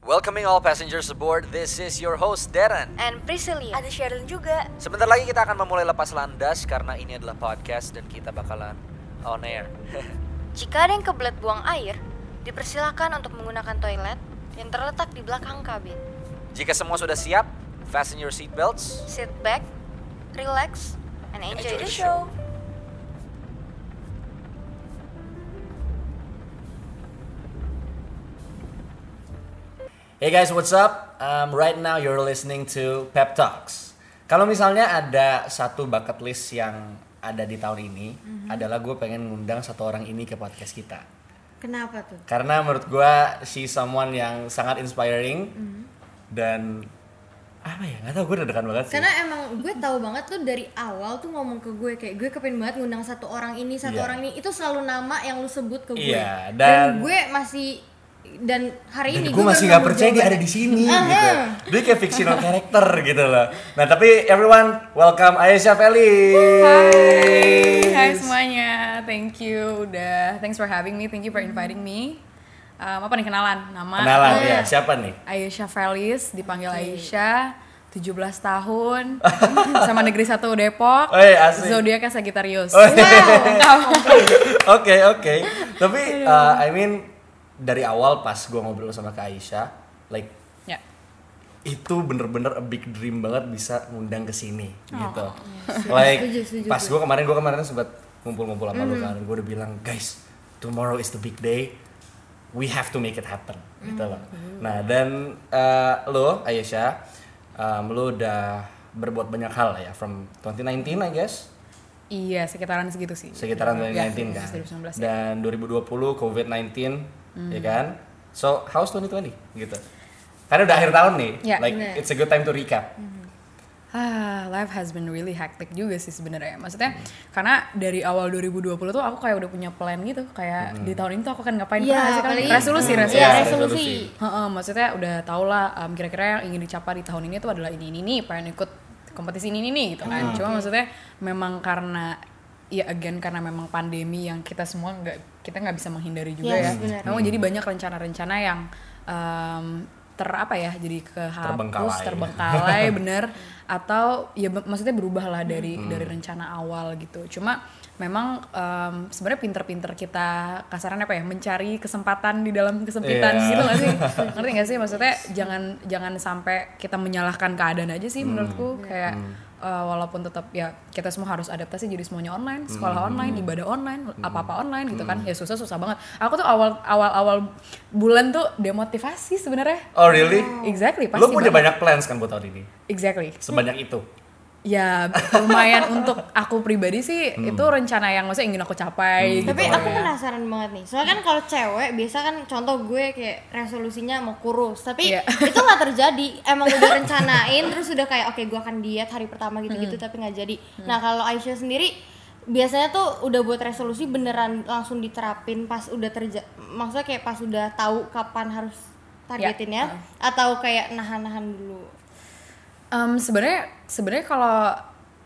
Welcoming all passengers aboard, this is your host Darren. And Priscilia. Ada Sherilyn juga. Sebentar lagi kita akan memulai lepas landas karena ini adalah podcast dan kita bakalan on air. Jika ada yang kebelet buang air, dipersilahkan untuk menggunakan toilet yang terletak di belakang kabin. Jika semua sudah siap, fasten your seatbelts. Sit back, relax, and enjoy, Enjoy the the show. show. Hey guys, what's up? Um, right now you're listening to Pep Talks. Kalau misalnya ada satu bucket list yang ada di tahun ini, adalah gue pengen ngundang satu orang ini ke podcast kita. Kenapa tuh? Karena menurut gue she someone yang sangat inspiring dan apa ya nggak tau gue deg-degan banget sih. Karena emang gue tahu banget tuh dari awal tuh ngomong ke gue kayak gue kepengen banget ngundang satu orang ini, satu Iya. orang ini. Itu selalu nama yang lu sebut ke gue. Iya, dan- gue masih dan hari dan ini gue kan masih baru Ah, nggak nemu percaya dia jawaban. ada di sini Ah, Aha. gitu. Dia kayak fictional character gitu loh. Nah tapi everyone welcome Aisyah Feli. Hai semuanya, thank you udah, thanks for having me, thank you for inviting me. Um, apa nih kenalan? Nama Kenalan ya siapa nih? Aisyah Felis, dipanggil Aisyah, 17 tahun, sama negeri 1 Depok, Eh, asik. zodiaknya Sagittarius. Oh, Wow. Oke oke. Tapi uh, I mean dari awal pas gue ngobrol sama Kak Aisyah, like ya. itu bener-bener a big dream banget bisa ngundang ke sini gitu. Like Oh, iya. Setuju, setuju, Mm-hmm. pas gue kemarin gue kemarin sempat ngumpul-ngumpul sama lu kan, gue udah bilang guys tomorrow is the big day, we have to make it happen gitu loh. Mm-hmm. Nah dan eh, lo Aisyah, em, lo udah berbuat banyak hal ya from 2019 I guess Iya, sekitaran segitu sih. sekitaran Ya, 2019, 2019 kan ya. Hmm. dan 2020 COVID-19 ya kan so how's 2020 gitu karena udah akhir tahun nih Ya, like bener. it's a good time to recap Ah, life has been really hectic juga sih sebenarnya. Maksudnya karena dari awal 2020 tuh aku kayak udah punya plan gitu, kayak di tahun ini tuh aku akan ngapain Iya, pernah nggak sih paling- kalian? resolusi Iya, resolusi. Ya, resolusi. Heeh, maksudnya udah tau lah um, kira-kira yang ingin dicapai di tahun ini tuh adalah ini ini ini pengen ikut kompetisi ini ini, ini gitu kan cuma maksudnya memang karena ya again karena memang pandemi yang kita semua nggak kita nggak bisa menghindari juga Yes, ya Iya, benar. memang jadi banyak rencana-rencana yang um, ter apa ya jadi kehapus Terbengkalai. terbengkalai ya, bener atau ya be- maksudnya berubah lah dari Hmm. dari rencana awal gitu cuma memang um, sebenarnya pinter-pinter kita kasarannya apa ya mencari kesempatan di dalam kesempitan Iya. gitu nggak sih ngerti nggak sih maksudnya jangan jangan sampai kita menyalahkan keadaan aja sih Hmm. menurutku Iya. kayak uh, walaupun tetap ya kita semua harus adaptasi jadi semuanya online Hmm. sekolah online ibadah online apa apa online gitu kan ya susah susah banget aku tuh awal awal awal bulan tuh demotivasi sebenarnya oh really exactly pasti lo punya banget. banyak plans kan buat tahun ini exactly sebanyak itu ya lumayan untuk aku pribadi sih itu rencana yang maksudnya ingin aku capai gitu Tapi loh aku ya. penasaran banget nih. Soalnya kan kalau cewek biasa kan contoh gue kayak resolusinya mau kurus, tapi Iya. itu nggak terjadi. Emang udah rencanain terus udah kayak oke gue akan diet hari pertama gitu-gitu Hmm. tapi nggak jadi. Nah, kalau Aisyah sendiri biasanya tuh udah buat resolusi beneran langsung diterapin pas udah terja maksudnya kayak pas udah tahu kapan harus targetin ya Hmm. atau kayak nahan-nahan dulu. Em, sebenarnya sebenarnya kalau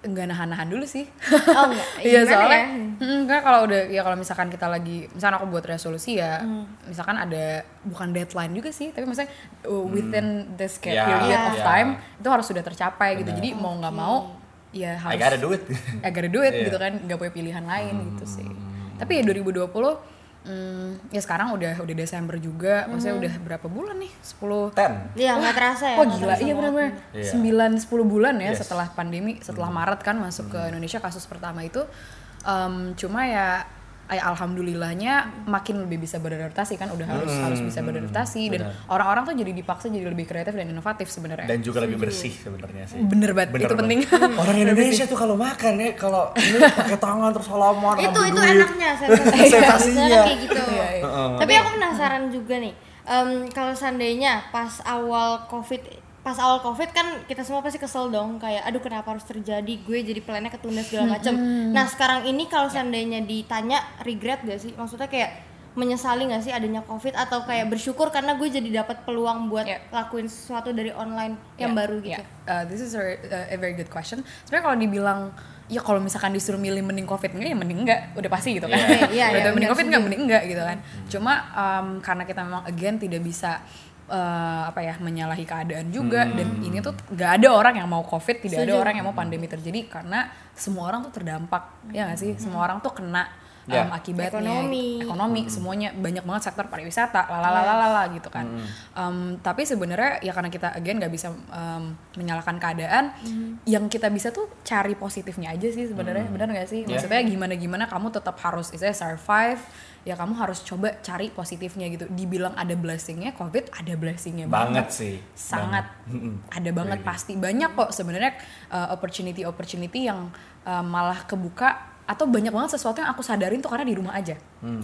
nggak nahan-nahan dulu sih. Oh, enggak. Iya Gimana soalnya, ya? mm, karena kalau udah ya kalau misalkan kita lagi, misalkan aku buat resolusi ya, misalkan ada bukan deadline juga sih, tapi maksudnya uh, within this kayak Ya, period of ya. time itu harus sudah tercapai gitu. Jadi mau nggak mau ya I harus gotta do it agar duit Iya. Hmm. gitu kan nggak punya pilihan lain gitu sih tapi ya 2020 mm, ya sekarang udah udah Desember juga maksudnya Hmm. udah berapa bulan nih 10 ten Iya, nggak terasa ya. Wah nggak gila, terasa iya banget. benar-benar Iya. 9 10 bulan ya Yes. Hmm. setelah pandemi, setelah Maret kan masuk ke Indonesia kasus pertama itu Em, cuma ya ay- alhamdulillahnya makin lebih bisa beradaptasi kan udah harus harus bisa Hmm. beradaptasi dan orang-orang tuh jadi dipaksa jadi lebih kreatif dan inovatif sebenarnya. dan juga lebih bersih sebenarnya sih Bener banget, Bener itu banget. penting. orang Indonesia tuh kalau makan ya kalau ini pakai tangan terus salaman itu ngambil itu duit. enaknya sensasi Sensasinya. Biasanya kan kayak gitu Iya, iya. tapi aku penasaran juga nih em, kalau seandainya pas awal covid pas awal covid kan kita semua pasti kesel dong kayak aduh kenapa harus terjadi gue jadi plannya ketunda segala macem nah sekarang ini kalau seandainya ditanya regret gak sih maksudnya kayak menyesali gak sih adanya covid atau kayak bersyukur karena gue jadi dapat peluang buat Iya. lakuin sesuatu dari online yang Yeah, baru gitu yeah. Uh, this is a, a very good question. Sebenarnya kalau dibilang ya kalau misalkan disuruh milih mending covid enggak ya mending enggak udah pasti gitu kan. Iya, iya, Udah iya, mending benar, covid enggak mending enggak gitu kan. Cuma um, karena kita memang again tidak bisa eh, apa ya menyalahi keadaan juga dan ini tuh nggak ada orang yang mau covid tidak ada orang yang mau pandemi terjadi karena semua orang tuh terdampak ya nggak sih semua orang tuh kena Ya. em, Hmm. akibatnya gitu. Ekonomi. ekonomi Hmm. semuanya banyak banget sektor pariwisata lalalalala gitu kan Hmm. Em, tapi sebenarnya ya karena kita again nggak bisa em, menyalahkan keadaan Hmm. yang kita bisa tuh cari positifnya aja sih sebenarnya benar nggak sih Ya. maksudnya gimana gimana kamu tetap harus istilahnya survive ya kamu harus coba cari positifnya gitu dibilang ada blessingnya covid ada blessingnya banget sih sangat ada banget pasti banyak kok sebenarnya opportunity opportunity yang uh, malah kebuka atau banyak banget sesuatu yang aku sadarin tuh karena di rumah aja Hmm.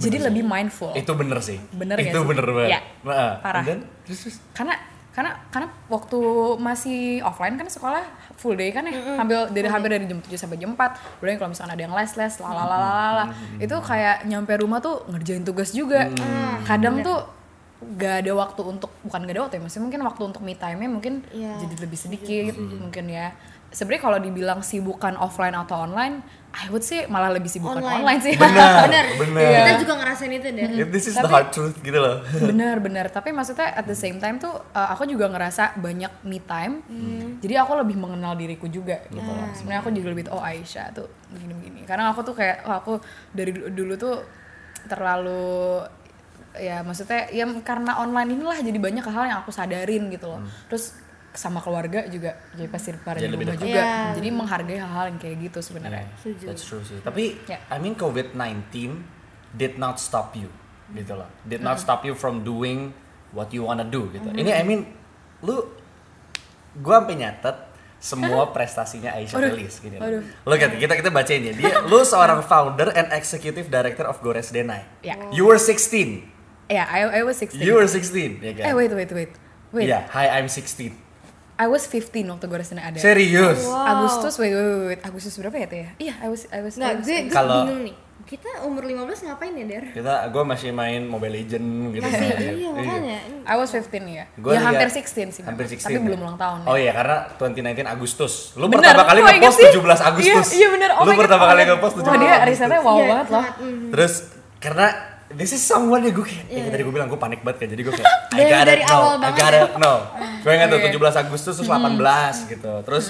Oh. jadi bener sih. lebih mindful itu bener sih Bener itu nggak sih? bener banget Iya. Nah, Parah. dan terus, terus. karena karena karena waktu masih offline kan sekolah full day kan ya hampir dari hampir dari jam 7 sampai jam 4 belum kalau misalkan ada yang les les lalalala itu kayak nyampe rumah tuh ngerjain tugas juga Mm. Ah, kadang tuh gak ada waktu untuk bukan gak ada waktu ya maksudnya mungkin waktu untuk me time nya mungkin Iya. jadi lebih sedikit mungkin ya sebenarnya kalau dibilang sibukan offline atau online I would say malah lebih sibukan online, Online. sih bener Bener. bener Kita juga ngerasain itu deh. this is the hard truth gitu loh benar-benar tapi maksudnya at the same time tuh uh, aku juga ngerasa banyak me time Hmm. jadi aku lebih mengenal diriku juga gitu loh. Ah. sebenarnya aku juga lebih tahu, oh Aisyah tuh begini-begini karena aku tuh kayak oh, aku dari dulu, dulu tuh terlalu ya maksudnya ya karena online inilah jadi banyak hal yang aku sadarin gitu loh terus sama keluarga juga jadi pasti pada di Hmm. Jadi lebih rumah dekat. Hmm. juga Iya. jadi menghargai hal-hal yang kayak gitu sebenarnya That's true sih. Tapi Ya. I mean COVID-19 did not stop you gitu loh. Did not stop you from doing what you wanna do gitu. Ini I mean lu gua sampai nyatet semua prestasinya Aisyah Felis gini. loh. Look at kita kita bacain ya. Dia lu seorang founder and executive director of Gores Denai. Ya. You were 16. ya I, I was 16 You were Iya. 16, ya kan? eh wait wait wait wait Yeah, hi I'm 16. I was 15 waktu gue resmi ada Serius. Oh. Agustus, wait, wait, wait, wait. Agustus berapa ya teh? ya? Iya, I was, I was, Nah, I was- gue, gue Kalau- bingung nih. Kita umur 15 ngapain ya, Der? Kita gua masih main Mobile Legend gitu. Masih, kan. iya makanya. I was 15 ya. Gua ya liat- hampir 16 sih. memang. Hampir 16. Tapi belum ulang tahun. ya. Oh iya, karena 2019 Agustus. Lu Bener. pertama kali Oh, inget ngepost sih. 17 Agustus. Iya, iya bener. Oh Lu my God. pertama kali Wah, ngepost 17 Wah, dia Agustus. risetnya wow Iya, banget loh. sangat, Terus karena this is someone ya gue kayak, Iya. ya, tadi gue bilang gue panik banget kan, jadi gue kayak I Dari- gotta dari know, awal I banget gotta ya. know. Gue ingat tuh Oke. 17 Agustus terus 18 gitu. Terus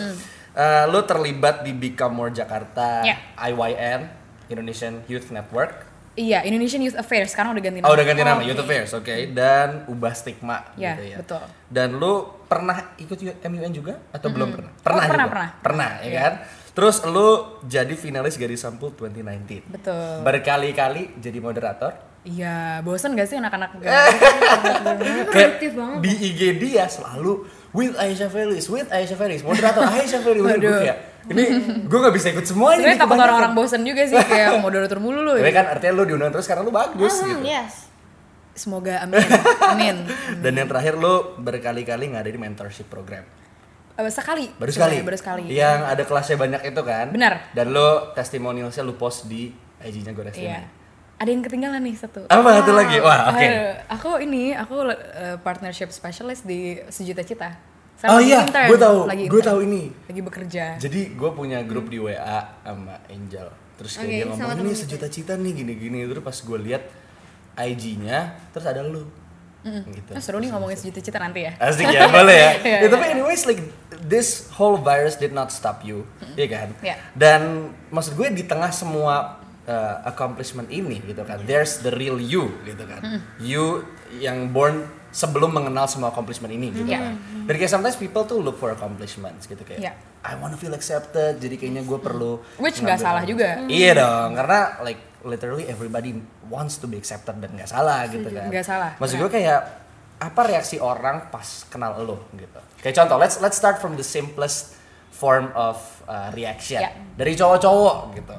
eh, lu terlibat di Become More Jakarta Iya. IYN Indonesian Youth Network. Iya, Indonesian Youth Affairs sekarang udah ganti nama. Oh udah ganti nama Oh, Youth Affairs, oke. Dan ubah stigma Ya, gitu ya. betul. Dan lu pernah ikut U- MUN juga atau belum pernah? Oh, pernah, juga? pernah. Iya. Pernah, ya kan? Terus lu jadi finalis Gadis Sampul 2019. Betul. Berkali-kali jadi moderator. Iya, bosen gak sih anak-anak gak? Kayak produktif banget. Di IG dia selalu with Aisyah Felis, with Aisyah Felis, moderator Aisyah Felis. Udah gue kayak, ini gue gak bisa ikut semua ini. Sebenernya takut kebanyakan. orang-orang bosen juga sih kayak moderator mulu lu. Tapi ya. iya. kan artinya lu diundang terus karena lu bagus Hmm, gitu. yes. Semoga amin. Amin. Dan yang terakhir lu berkali-kali nggak ada di mentorship program. Eh, Sekali. Baru sekali. Iya. Sebenarnya Baru sekali. Yang ada kelasnya banyak itu kan. Benar. Dan lo testimonialsnya lo post di IG-nya Gores Iya. Denai. Ada yang ketinggalan nih satu. Apa itu lagi? Wah, Ah, oke. Aduh, Eh, aku ini aku uh, partnership specialist di Sejuta Cita. Saya Oh lagi iya, intern, gue tahu. lagi Gue intern, tahu ini. Lagi bekerja. Jadi gue punya grup di WA sama Angel. Terus kayak Oke, dia sama ngomong temen ini kita. sejuta cita nih gini-gini. Terus pas gue lihat IG-nya, terus ada lu. Gitu. Nah, seru nih ngomongin Sejuta Cita nanti ya. Asik ya, boleh ya. Iya, Ya, tapi anyways like this whole virus did not stop you, iya kan? Iya. Dan maksud gue di tengah semua uh, accomplishment ini gitu kan, there's the real you gitu kan. Hmm. You yang born sebelum mengenal semua accomplishment ini gitu Iya. kan. Dan kayak sometimes people tuh look for accomplishments gitu kayak Iya. I wanna feel accepted, jadi kayaknya gue perlu Hmm. Which nggak ngambil- salah juga. Iya dong, karena like literally everybody wants to be accepted dan nggak salah gitu kan. Nggak salah, Maksud gue kayak apa reaksi orang pas kenal lo gitu. Kayak contoh, let's let's start from the simplest form of uh, reaction Ya. Ah. dari cowok-cowok gitu.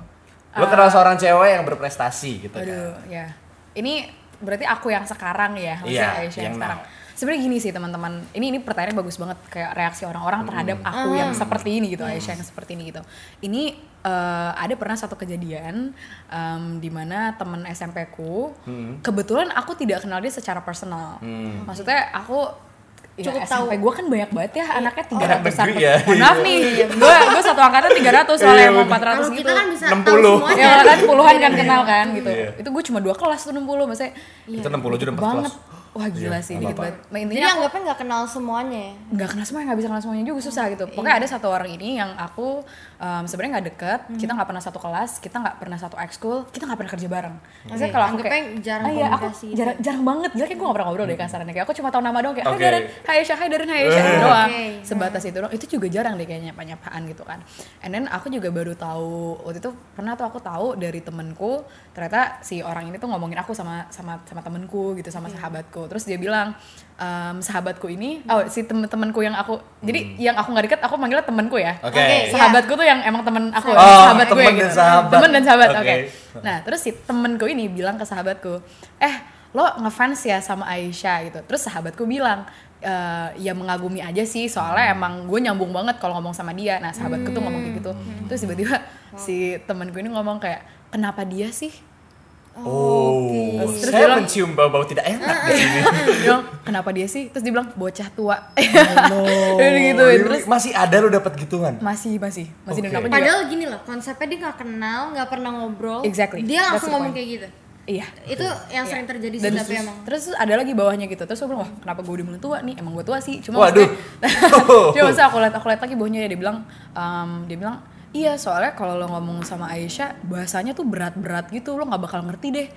Lo kenal seorang cewek yang berprestasi gitu kan. Aduh, ya. Ini berarti aku yang sekarang ya, maksudnya Iya, Aisyah yang, yang sekarang. now. Sebenarnya gini sih teman-teman, ini ini pertanyaannya bagus banget kayak reaksi Hmm. orang-orang terhadap aku yang Ah. seperti ini gitu, Aisyah yang seperti ini gitu. Ini eh, ada pernah satu kejadian em, di mana teman SMP-ku, Hmm. kebetulan aku tidak kenal dia secara personal. Maksudnya aku ya, Cukup tahu. Iya. SMP gue kan banyak banget ya anaknya 300 an Anak negeri ya. Mohon maaf nih, gue gue satu angkatan 300 soalnya Iya, yang mau bener. 400 Kalau gitu kita kan bisa 60. tahu semuanya. ya kan puluhan kan kenal kan gitu Iya. itu gue cuma dua kelas tuh 60 maksudnya Itu 60 aja udah empat Iya, banget kelas. wah gila sih dikit banget. Nah, Jadi Intinya aku anggapnya nggak kenal semuanya Iya. ya. nggak kenal semuanya nggak bisa kenal semuanya juga susah gitu Iya. pokoknya ada satu orang ini yang aku um, sebenarnya nggak deket Hmm. kita nggak pernah satu kelas kita nggak pernah satu ekskul kita nggak pernah kerja bareng maksudnya kalau aku Anggapnya kayak jarang "Ah, iya, aku komunikasi gitu." jarang, jarang banget gila kayak gue gak pernah ngobrol deh kasarannya kayak aku cuma tahu nama doang kayak hai Hmm. Oke. Darren hai Aisyah hai Darren hai Aisyah gitu doang Oke. sebatas itu doang itu juga jarang deh kayaknya penyapaan gitu kan and then aku juga baru tahu waktu itu pernah tuh aku tahu dari temenku ternyata si orang ini tuh ngomongin aku sama sama sama temenku gitu sama sahabatku terus dia bilang "Em, sahabatku ini oh si temen-temenku yang aku jadi yang aku nggak deket aku manggilnya temenku ya Oke. Oke. Iya. sahabatku tuh yang emang temen aku Oh, sahabat gue temen gitu dan sahabat. temen dan sahabat oke Oke. nah terus si temenku ini bilang ke sahabatku eh lo ngefans ya sama Aisyah gitu terus sahabatku bilang "Eh, ya mengagumi aja sih soalnya emang gue nyambung banget kalau ngomong sama dia nah sahabatku tuh ngomong kayak gitu Hmm. terus tiba-tiba si temenku ini ngomong kayak kenapa dia sih Oh, Terus dia saya bilang- Ah. mencium bau-bau tidak enak gitu. di sini. Dia bilang kenapa dia sih terus dia bilang bocah tua Jadi gitu terus masih ada lu dapat gituan. masih masih masih dan Oke. aku juga Padahal gini loh, konsepnya dia nggak kenal, nggak pernah ngobrol. Exactly. Dia That's langsung the ngomong point. kayak gitu. iya Itu yang sering terjadi sih Dan tapi terus, emang. terus ada lagi bawahnya gitu terus gue bilang wah kenapa gue udah mulai tua nih emang gue tua sih cuma Waduh. maksudnya- cuma maksudnya aku lihat aku lihat lagi bawahnya ya dia bilang em, dia bilang iya soalnya kalau lo ngomong sama Aisyah bahasanya tuh berat-berat gitu lo nggak bakal ngerti deh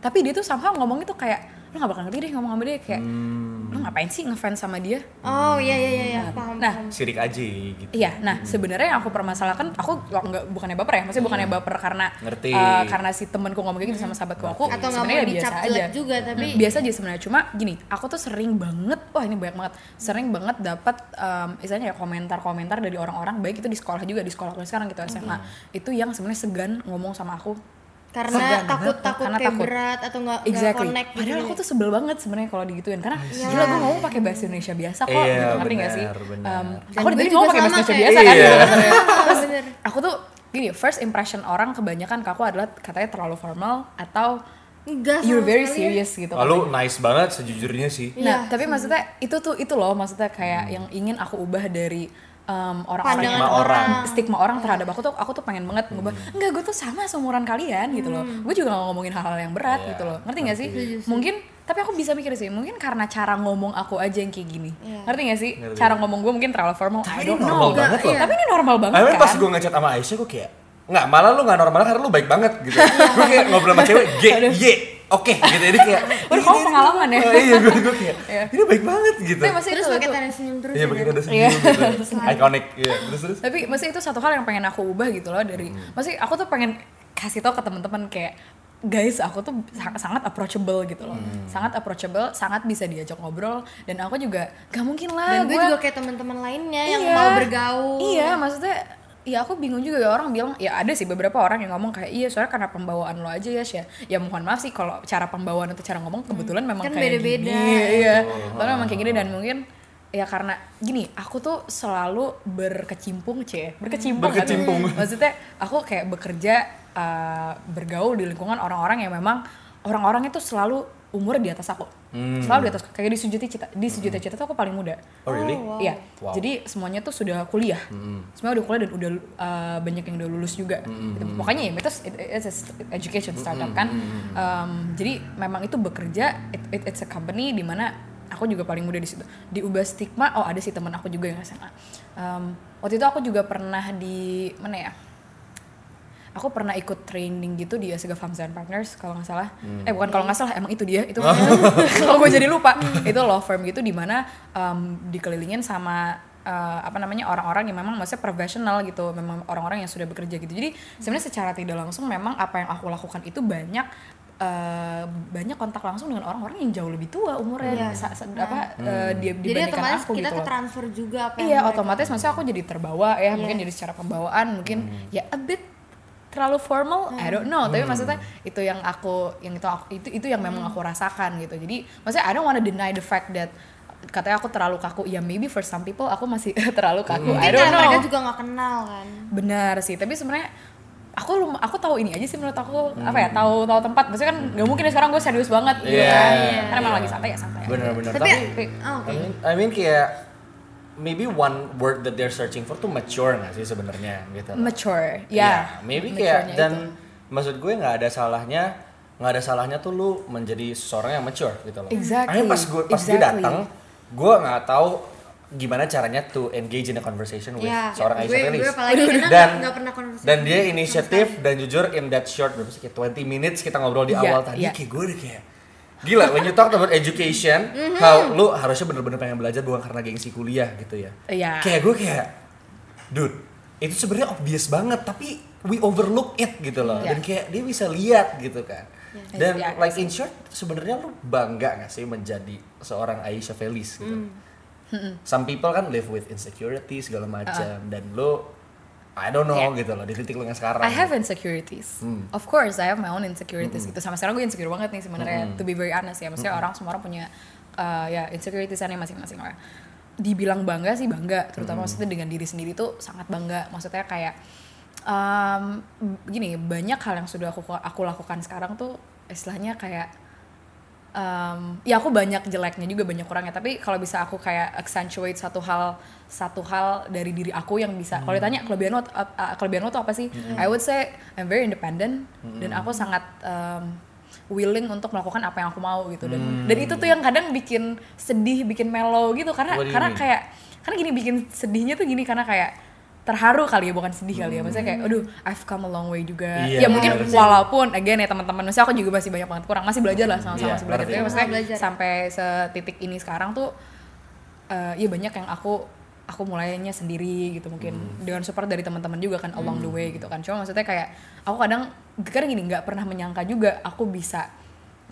tapi dia tuh somehow ngomong itu kayak lo nggak bakal ngerti deh ngomong sama dia kayak Hmm. lo ngapain sih ngefans sama dia Oh iya iya iya, iya. paham. nah Sirik aja gitu. Iya, nah sebenarnya yang aku permasalahkan, aku lo- nggak bukannya baper ya, maksudnya bukannya Iya. baper karena Ngerti. eh, karena si temanku ngomong kayak gitu sama sahabatku, aku Atau nggak mau sebenarnya ya biasa dicap aja. Nah, jelek juga tapi biasa aja sebenarnya cuma gini aku tuh sering banget wah ini banyak banget sering banget dapat em, misalnya ya komentar-komentar dari orang-orang baik itu di sekolah juga di sekolah aku sekarang gitu Hmm. SMA itu yang sebenarnya segan ngomong sama aku karena Segan. takut takut Karena kayak takut. berat atau nggak nggak Exactly. connect gitu. Iya. Padahal aku tuh sebel banget sebenarnya kalau digituin karena gila gue ngomong pakai bahasa Indonesia biasa kok, Iya, gitu, ngerti nggak sih? benar, benar. Em, Dan aku gue ditunjuk juga ngomong pakai bahasa sama Indonesia kayak biasa kan. gitu. Iya. sebenarnya. Terus Bener. aku tuh gini, first impression orang kebanyakan ke aku adalah katanya terlalu formal atau Enggak sama you're very sekali. serious gitu. Lalu nice banget sejujurnya sih. Iya. Nah, tapi maksudnya itu tuh itu loh maksudnya kayak yang ingin aku ubah dari em, orang-orang Pandangan Stigma orang. Hmm. orang. stigma orang terhadap aku tuh aku tuh pengen banget ngubah enggak gue tuh sama seumuran kalian gitu loh Hmm. gue juga gak ngomongin hal-hal yang berat Iya, gitu loh ngerti nggak sih mungkin tapi aku bisa mikir sih mungkin karena cara ngomong aku aja yang kayak gini Iya. ngerti gak sih Ngerti. cara ngomong gue mungkin terlalu formal I ini don't normal know banget loh. Iya. tapi ini normal banget Akhirnya kan pas gue ngechat sama Aisyah gue kayak Nggak, malah lu nggak normal karena lu baik banget gitu Iya. Gue kayak ngobrol sama cewek, G, Y, oke gitu Jadi kayak Waduh, kamu "Ih, ini- pengalaman ya?" Oh, Iya, gue gue kayak, ini baik banget gitu tapi maksudnya Terus itu- pakai itu- tanda senyum terus. Iya, ya, begitu Dad? ada senyum gitu Iconic, iya, terus-terus tapi maksudnya itu satu hal yang pengen aku ubah gitu loh dari maksudnya aku tuh pengen kasih tau ke teman-teman kayak guys aku tuh sangat, sangat approachable gitu loh sangat approachable sangat bisa diajak ngobrol dan aku juga gak mungkin Dan lah gue Ah, gua- juga kayak teman-teman lainnya yang Iya. mau bergaul. iya maksudnya ya aku bingung juga ya orang bilang ya ada sih beberapa orang yang ngomong kayak iya soalnya karena pembawaan lo aja ya Sya ya mohon maaf sih kalau cara pembawaan atau cara ngomong kebetulan memang Kan kayak beda-beda. gini iya Soalnya memang kayak gini dan mungkin ya karena gini aku tuh selalu berkecimpung cie berkecimpung kan? Berkecimpung. maksudnya aku kayak bekerja uh, bergaul di lingkungan orang-orang yang memang orang-orangnya tuh selalu umur di atas aku selalu di atas kayak di sujuti cita di sujuti cita tuh aku paling muda Oh really? Iya. Wow. Jadi semuanya tuh sudah kuliah. Semua udah kuliah dan udah uh, banyak yang udah lulus juga. Gitu. Makanya ya itu it's a education startup kan. Um, jadi memang itu bekerja it, it- it's a company di mana aku juga paling muda di situ. Diubah stigma, oh ada sih teman aku juga yang SMA. Um, waktu itu aku juga pernah di mana ya? aku pernah ikut training gitu di Asega Farms and Partners kalau nggak salah Hmm. eh bukan kalau nggak salah emang itu Oh. dia itu kalau gue jadi lupa Hmm. itu law firm gitu dimana dikelilingin sama eh, apa namanya orang-orang yang memang maksudnya profesional gitu memang orang-orang yang sudah bekerja gitu jadi sebenarnya secara tidak langsung memang apa yang aku lakukan itu banyak eh, banyak kontak langsung dengan orang-orang yang jauh lebih tua umurnya Sa- sa- apa eh, dia Iya. Hmm. Jadi dibandingkan otomatis aku kita gitu ke loh. transfer juga apa yang Iya mereka- otomatis maksudnya aku jadi terbawa ya mungkin jadi secara pembawaan mungkin Hmm. ya a bit terlalu formal I don't know tapi maksudnya itu yang aku yang itu aku- itu itu yang memang aku rasakan gitu jadi maksudnya I don't wanna deny the fact that katanya aku terlalu kaku ya maybe for some people aku masih terlalu kaku Mungkin I don't karena mereka know juga nggak kenal kan. benar sih tapi sebenarnya aku lum- aku tahu ini aja sih menurut aku Hmm. apa ya tahu tahu tempat maksudnya kan nggak mungkin ya sekarang gue serius banget gitu Iya, kan iya, karena emang iya. lagi santai ya santai aja. Bener-bener, Tapi, tapi oh, oke. I mean, I mean kayak Maybe one word that they're searching for tuh mature nggak sih sebenarnya gitu. loh. mature ya Iya, maybe mature-nya kayak dan itu. maksud gue nggak ada salahnya nggak ada salahnya tuh lu menjadi seseorang yang mature gitu loh. Exactly, Akhirnya pas gue pas dia exactly. datang, gue nggak tahu gimana caranya to engage in a conversation with Ya, seorang gue- Aisyah gue Felis. apalagi karena dan nggak- nggak pernah gitu, conversation dan dia sama inisiatif dan jujur in that short berapa sih kayak 20 minutes kita ngobrol di Iya, awal tadi iya. kayak gue udah kayak gila when you talk about education Mhm. how lu harusnya bener-bener pengen belajar bukan karena gengsi kuliah gitu ya. Iya. Kayak gue kayak dude itu sebenarnya obvious banget tapi we overlook it gitu loh Iya. dan kayak dia bisa lihat gitu kan dan Iya, like in short sebenarnya lu bangga gak sih menjadi seorang Aisyah Felis gitu Hmm. some people kan live with insecurity segala macam dan lu I don't know Uh-uh. Yeah. gitu loh di titik lu yang sekarang I have insecurities. Of course, I have my own insecurities gitu. Sama sekarang gue insecure banget nih sebenarnya. To be very honest ya, maksudnya orang semua orang punya uh, ya insecuritiesnya masing-masing orang. Dibilang bangga sih bangga, terutama maksudnya dengan diri sendiri tuh sangat bangga. Maksudnya kayak um, gini banyak hal yang sudah aku aku lakukan sekarang tuh istilahnya kayak um, ya aku banyak jeleknya juga banyak kurangnya tapi kalau bisa aku kayak accentuate satu hal satu hal dari diri aku yang bisa kalau ditanya Hmm. kelebihan lo ap- uh, kelebihan lo tuh apa sih I would say I'm very independent Hmm. dan aku sangat um, willing untuk melakukan apa yang aku mau gitu dan Hmm. dan itu tuh yang kadang bikin sedih bikin mellow gitu karena What do you karena mean? kayak karena gini bikin sedihnya tuh gini karena kayak terharu kali ya bukan sedih kali ya maksudnya kayak aduh I've come a long way juga Hmm. Iya, ya mungkin bener sih. walaupun again ya teman-teman maksudnya aku juga masih banyak banget kurang masih belajar lah sama-sama Iya, masih belajar ngerti. tapi maksudnya Sama belajar. sampai setitik ini sekarang tuh eh ya banyak yang aku aku mulainya sendiri gitu mungkin Hmm. dengan support dari teman-teman juga kan along the way gitu kan cuma maksudnya kayak aku kadang kadang gini nggak pernah menyangka juga aku bisa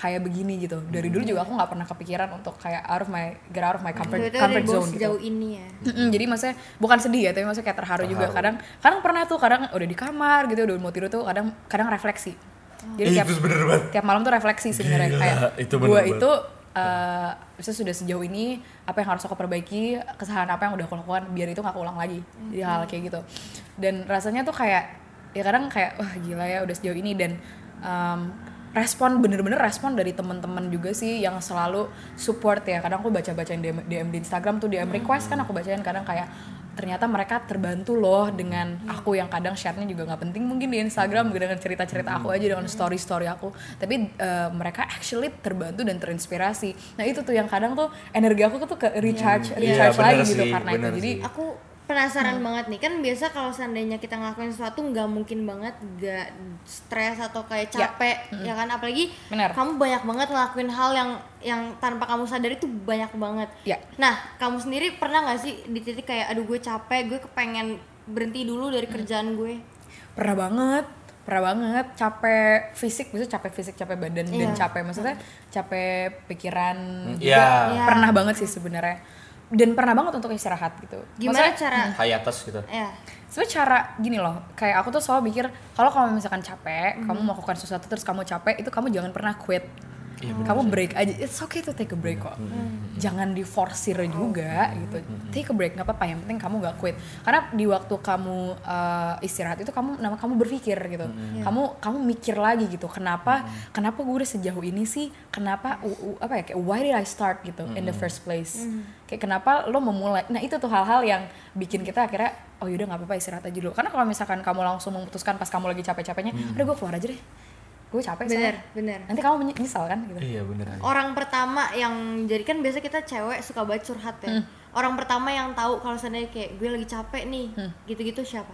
kayak begini gitu dari dulu juga aku nggak pernah kepikiran untuk kayak out of my get out of my comfort, Ternyata udah comfort dibawa zone gitu sejauh ini ya Mm-mm, jadi maksudnya bukan sedih ya, tapi maksudnya kayak terharu, juga. Terharu. Kadang kadang pernah tuh, kadang udah di kamar gitu, udah mau tidur tuh, kadang kadang refleksi. Jadi Ih, tiap, Eh, itu bener banget. tiap malam tuh refleksi sebenarnya Gila, kayak itu bener gua banget. itu eh bisa sudah sejauh ini apa yang harus aku perbaiki, kesalahan apa yang udah aku lakukan biar itu gak aku ulang lagi. Jadi hal kayak gitu. Dan rasanya tuh kayak ya kadang kayak wah gila ya udah sejauh ini dan em, respon bener-bener respon dari teman-teman juga sih yang selalu support ya kadang aku baca-bacain DM, DM di Instagram tuh DM request kan aku bacain kadang kayak ternyata mereka terbantu loh dengan aku yang kadang share-nya juga nggak penting mungkin di Instagram dengan cerita-cerita aku aja dengan story-story aku tapi eh, mereka actually terbantu dan terinspirasi nah itu tuh yang kadang tuh energi aku tuh ke recharge Iya, recharge bener lagi gitu sih, karena itu bener jadi sih. aku penasaran Hmm. banget nih kan biasa kalau seandainya kita ngelakuin sesuatu nggak mungkin banget nggak stres atau kayak Ya. capek ya kan apalagi Benar. kamu banyak banget ngelakuin hal yang yang tanpa kamu sadari tuh banyak banget Ya. nah kamu sendiri pernah nggak sih di titik kayak aduh gue capek gue kepengen berhenti dulu dari Hmm. kerjaan gue pernah banget pernah banget capek fisik bisa capek fisik capek badan Iya. dan capek maksudnya capek pikiran juga Iya. Iya. pernah banget sih sebenarnya dan pernah banget untuk istirahat gitu gimana Maksudnya- cara hiatus gitu ya sebenarnya cara gini loh kayak aku tuh selalu mikir kalau kamu misalkan capek kamu melakukan sesuatu terus kamu capek itu kamu jangan pernah quit kamu break aja it's okay to take a break kok jangan diforsir juga gitu take a break nggak apa-apa yang penting kamu nggak quit karena di waktu kamu uh, istirahat itu kamu nama kamu berpikir gitu Iya. kamu kamu mikir lagi gitu kenapa kenapa gue udah sejauh ini sih kenapa u- u- apa ya kayak why did I start gitu in the first place kayak kenapa lo memulai nah itu tuh hal-hal yang bikin kita akhirnya oh yaudah nggak apa-apa istirahat aja dulu karena kalau misalkan kamu langsung memutuskan pas kamu lagi capek-capeknya udah gue keluar aja deh gue capek bener soalnya." bener nanti kamu menyesal kan gitu iya bener orang pertama yang jadi kan biasa kita cewek suka banget curhat ya Hmm. orang pertama yang tahu kalau seandainya kayak gue lagi capek nih Hmm. gitu-gitu siapa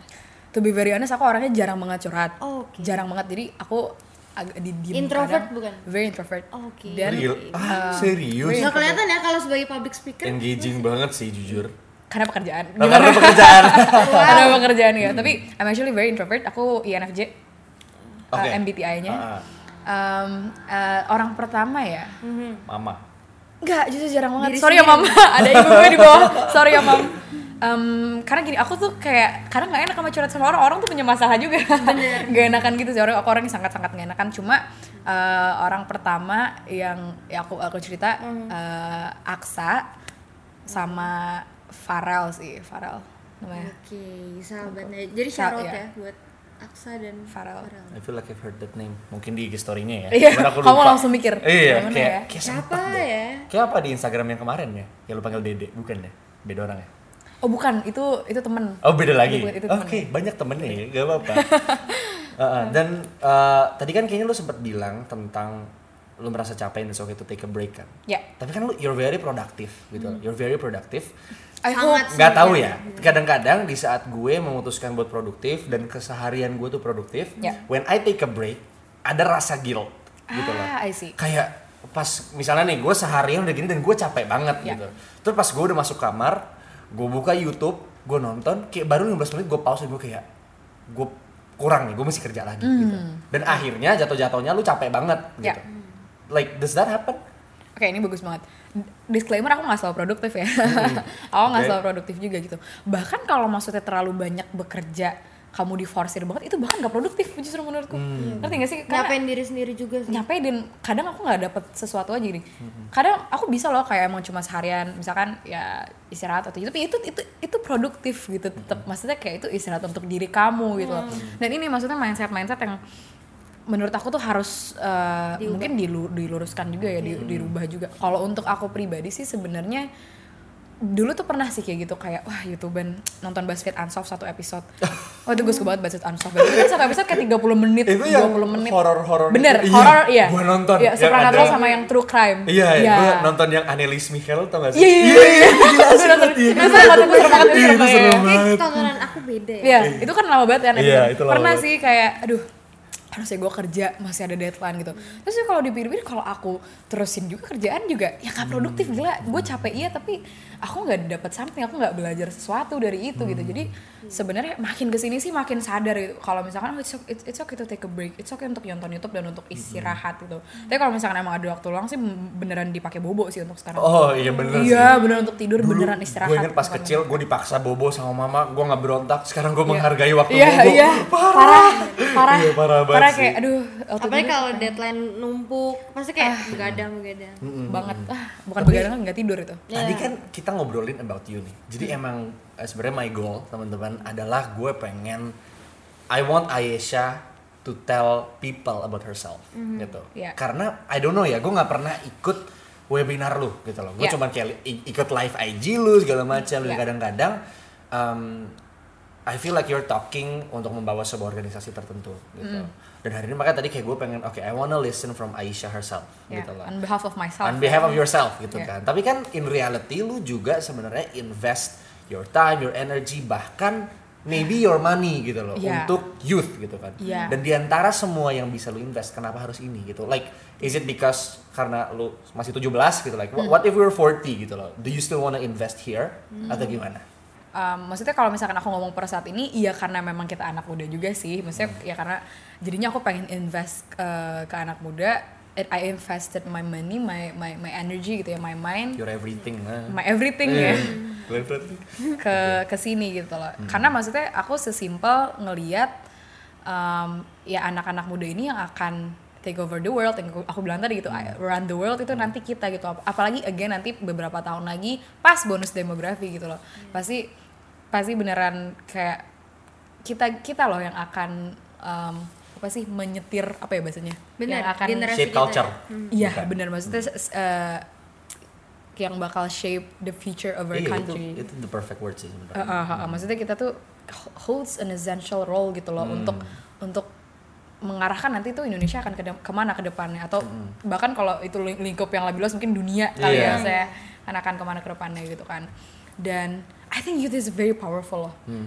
to be very honest aku orangnya jarang banget curhat Oh, oke. jarang banget jadi aku agak di diem Introvert bukan? very introvert Oh, oke. dan Real? uh, Ah, serius nggak kelihatan ya kalau sebagai public Iya. speaker engaging banget sih jujur karena pekerjaan Nah, karena pekerjaan karena pekerjaan ya tapi I'm actually very introvert aku INFJ uh, Oke. MBTI-nya Ah, ah. Um, uh, orang pertama ya mama Enggak, justru jarang banget. Diri Sorry ya sendiri. mam, ada ibu gue di bawah. Sorry ya mam. Em, karena gini, aku tuh kayak karena nggak enak sama curhat sama orang, orang tuh punya masalah juga. gak enakan gitu sih orang, aku orang yang sangat-sangat gak enakan. Cuma eh, orang pertama yang ya aku aku cerita eh, Aksa sama Farel sih, Farel namanya. oke sahabatnya jadi shout out Iya. ya buat Aksa dan Farel. I feel like I've heard that name mungkin di IG story-nya ya Iya, Cuman aku kamu lupa. langsung mikir, iya gimana kayak ya? kayak siapa sempat deh. ya kayak apa di Instagram yang kemarin ya yang lu panggil Dede bukan ya beda orang ya Oh bukan, itu itu temen. Oh beda lagi. Itu- itu Oke, banyak temennya ya, gak apa-apa. Uh, dan uh, tadi kan kayaknya lu sempat bilang tentang lu merasa capek and it's okay to take a break kan. Ya. Tapi kan lu you're very productive gitu. Hmm. loh. You're very productive. Sangat I hope. sih, Nggak tahu ya. Kadang-kadang di saat gue memutuskan buat produktif dan keseharian gue tuh produktif, Ya. when I take a break ada rasa guilt gitu loh. Ah, I see. Kayak pas misalnya nih gue seharian udah gini dan gue capek banget Ya. gitu. Terus pas gue udah masuk kamar, gue buka YouTube, gue nonton, kayak baru 15 menit gue pause dan gue kayak gue kurang nih, gue masih kerja lagi gitu. Dan akhirnya jatuh-jatuhnya lu capek banget Hmm. Ya. gitu. Like does that happen? Oke ini bagus banget. Disclaimer aku nggak selalu produktif ya. aku nggak Hmm. Oke. selalu produktif juga gitu. Bahkan kalau maksudnya terlalu banyak bekerja, kamu diforsir banget itu bahkan nggak produktif justru menurutku. Hmm. Ngerti gak sih? Karena- Nyapain diri sendiri juga Iya sih. nyampe dan kadang aku nggak dapet sesuatu aja gini kadang aku bisa loh kayak emang cuma seharian misalkan ya istirahat atau itu tapi itu itu itu produktif gitu tetap maksudnya kayak itu istirahat untuk diri kamu gitu loh. Hmm. dan ini maksudnya mindset mindset yang menurut aku tuh harus eh, mungkin dilu- diluruskan juga ya di- Hmm. dirubah juga kalau untuk aku pribadi sih sebenarnya dulu tuh pernah sih kayak gitu kayak wah youtuber nonton BuzzFeed Unsolved satu episode oh itu gue suka banget BuzzFeed Unsolved itu satu episode kayak 30 menit Itu yang 20 menit horor-horor bener itu. Iya, horor iya gua nonton. iya Yang Supernatural ada- sama yang true crime Iya, iya gue nonton yang Annelies Michel tau gak Iya, sih? iya, iya. itu gila Gua sih. nonton. Iya, Itu seru banget, itu seru banget, itu Iya, seru banget. Kayak tontonan aku beda ya. Iya, itu kan lama banget kan. Iya, episode. itu lama Pernah banget. sih kayak, aduh harusnya gue kerja masih ada deadline gitu. Terus juga kalau dipikir-pikir kalau aku terusin juga kerjaan juga ya gak produktif gila. Hmm. Gue capek iya tapi aku nggak dapat something, aku nggak belajar sesuatu dari itu Hmm. gitu. Jadi sebenarnya makin kesini sih makin sadar gitu. Kalau misalkan oh, it's, it's, it's okay to take a break, it's okay untuk nonton YouTube dan untuk Hmm. istirahat gitu. Tapi kalau misalkan emang ada waktu luang sih beneran dipakai bobo sih untuk sekarang. Oh iya bener sih. iya, beneran untuk tidur, Dulu beneran istirahat. gitu kan. Gue inget pas bukan- kecil gue dipaksa bobo sama mama, gue nggak berontak. Sekarang gue menghargai waktu Iya, bobo. iya. Parah. parah Iya, parah banget sih. kayak aduh waktu Apalagi dulu kalau deadline numpuk, pasti Ah. kayak begadang begadang. banget ah bukan begadang nggak tidur itu Tadi kan kita ngobrolin about you nih. Jadi Hmm. emang eh, sebenarnya my goal teman-teman adalah gue pengen I want Ayesha to tell people about herself gitu. Iya. Karena I don't know ya, gue nggak pernah ikut webinar lu gitu loh. Gue Iya. cuman kayak i- ikut live IG lu segala macam. Dan Iya. Kadang-kadang um, I feel like you're talking untuk membawa sebuah organisasi tertentu gitu. Hmm. Dan hari ini makanya tadi kayak gue pengen oke I wanna listen from Ayesha herself ya gitu loh on behalf of myself on behalf of yourself gitu Yeah. kan. Tapi kan in reality lu juga sebenarnya invest your time, your energy, bahkan maybe your money gitu loh Yeah. untuk youth gitu kan. Yeah. Dan diantara semua yang bisa lu invest, kenapa harus ini gitu? Like is it because karena lu masih 17 gitu like Hmm. what if we were 40 gitu loh? Do you still wanna invest here atau gimana? Um, maksudnya kalau misalkan aku ngomong per saat ini iya karena memang kita anak muda juga sih maksudnya Mm. ya karena jadinya aku pengen invest uh, ke anak muda and I invested my money my my my energy gitu ya my mind Your everything lah. my everything ya Iya. Your everything. ke ke sini gitu loh. Hmm. Karena maksudnya aku sesimpel ngeliat um, ya anak-anak muda ini yang akan take over the world yang aku, aku bilang tadi gitu Hmm. I- run the world itu nanti kita gitu Ap- apalagi again nanti beberapa tahun lagi pas bonus demografi gitu loh Hmm. pasti pasti beneran kayak kita kita loh yang akan um, apa sih menyetir apa ya bahasanya Bener, yang akan generasi kita Shape ya. culture. iya Bukan. Hmm. bener maksudnya s- eh, yang bakal shape the future of our Iya, itu, country itu the perfect word sih sebenarnya. Uh, uh, uh, uh. maksudnya kita tuh ho- holds an essential role gitu Hmm. loh untuk untuk mengarahkan nanti tuh Indonesia akan ke de- kemana ke depannya atau bahkan kalau itu ling- lingkup yang lebih luas mungkin dunia kali Hmm. Iya. ya saya kan akan kemana ke depannya gitu kan dan I think youth is very powerful loh Hmm.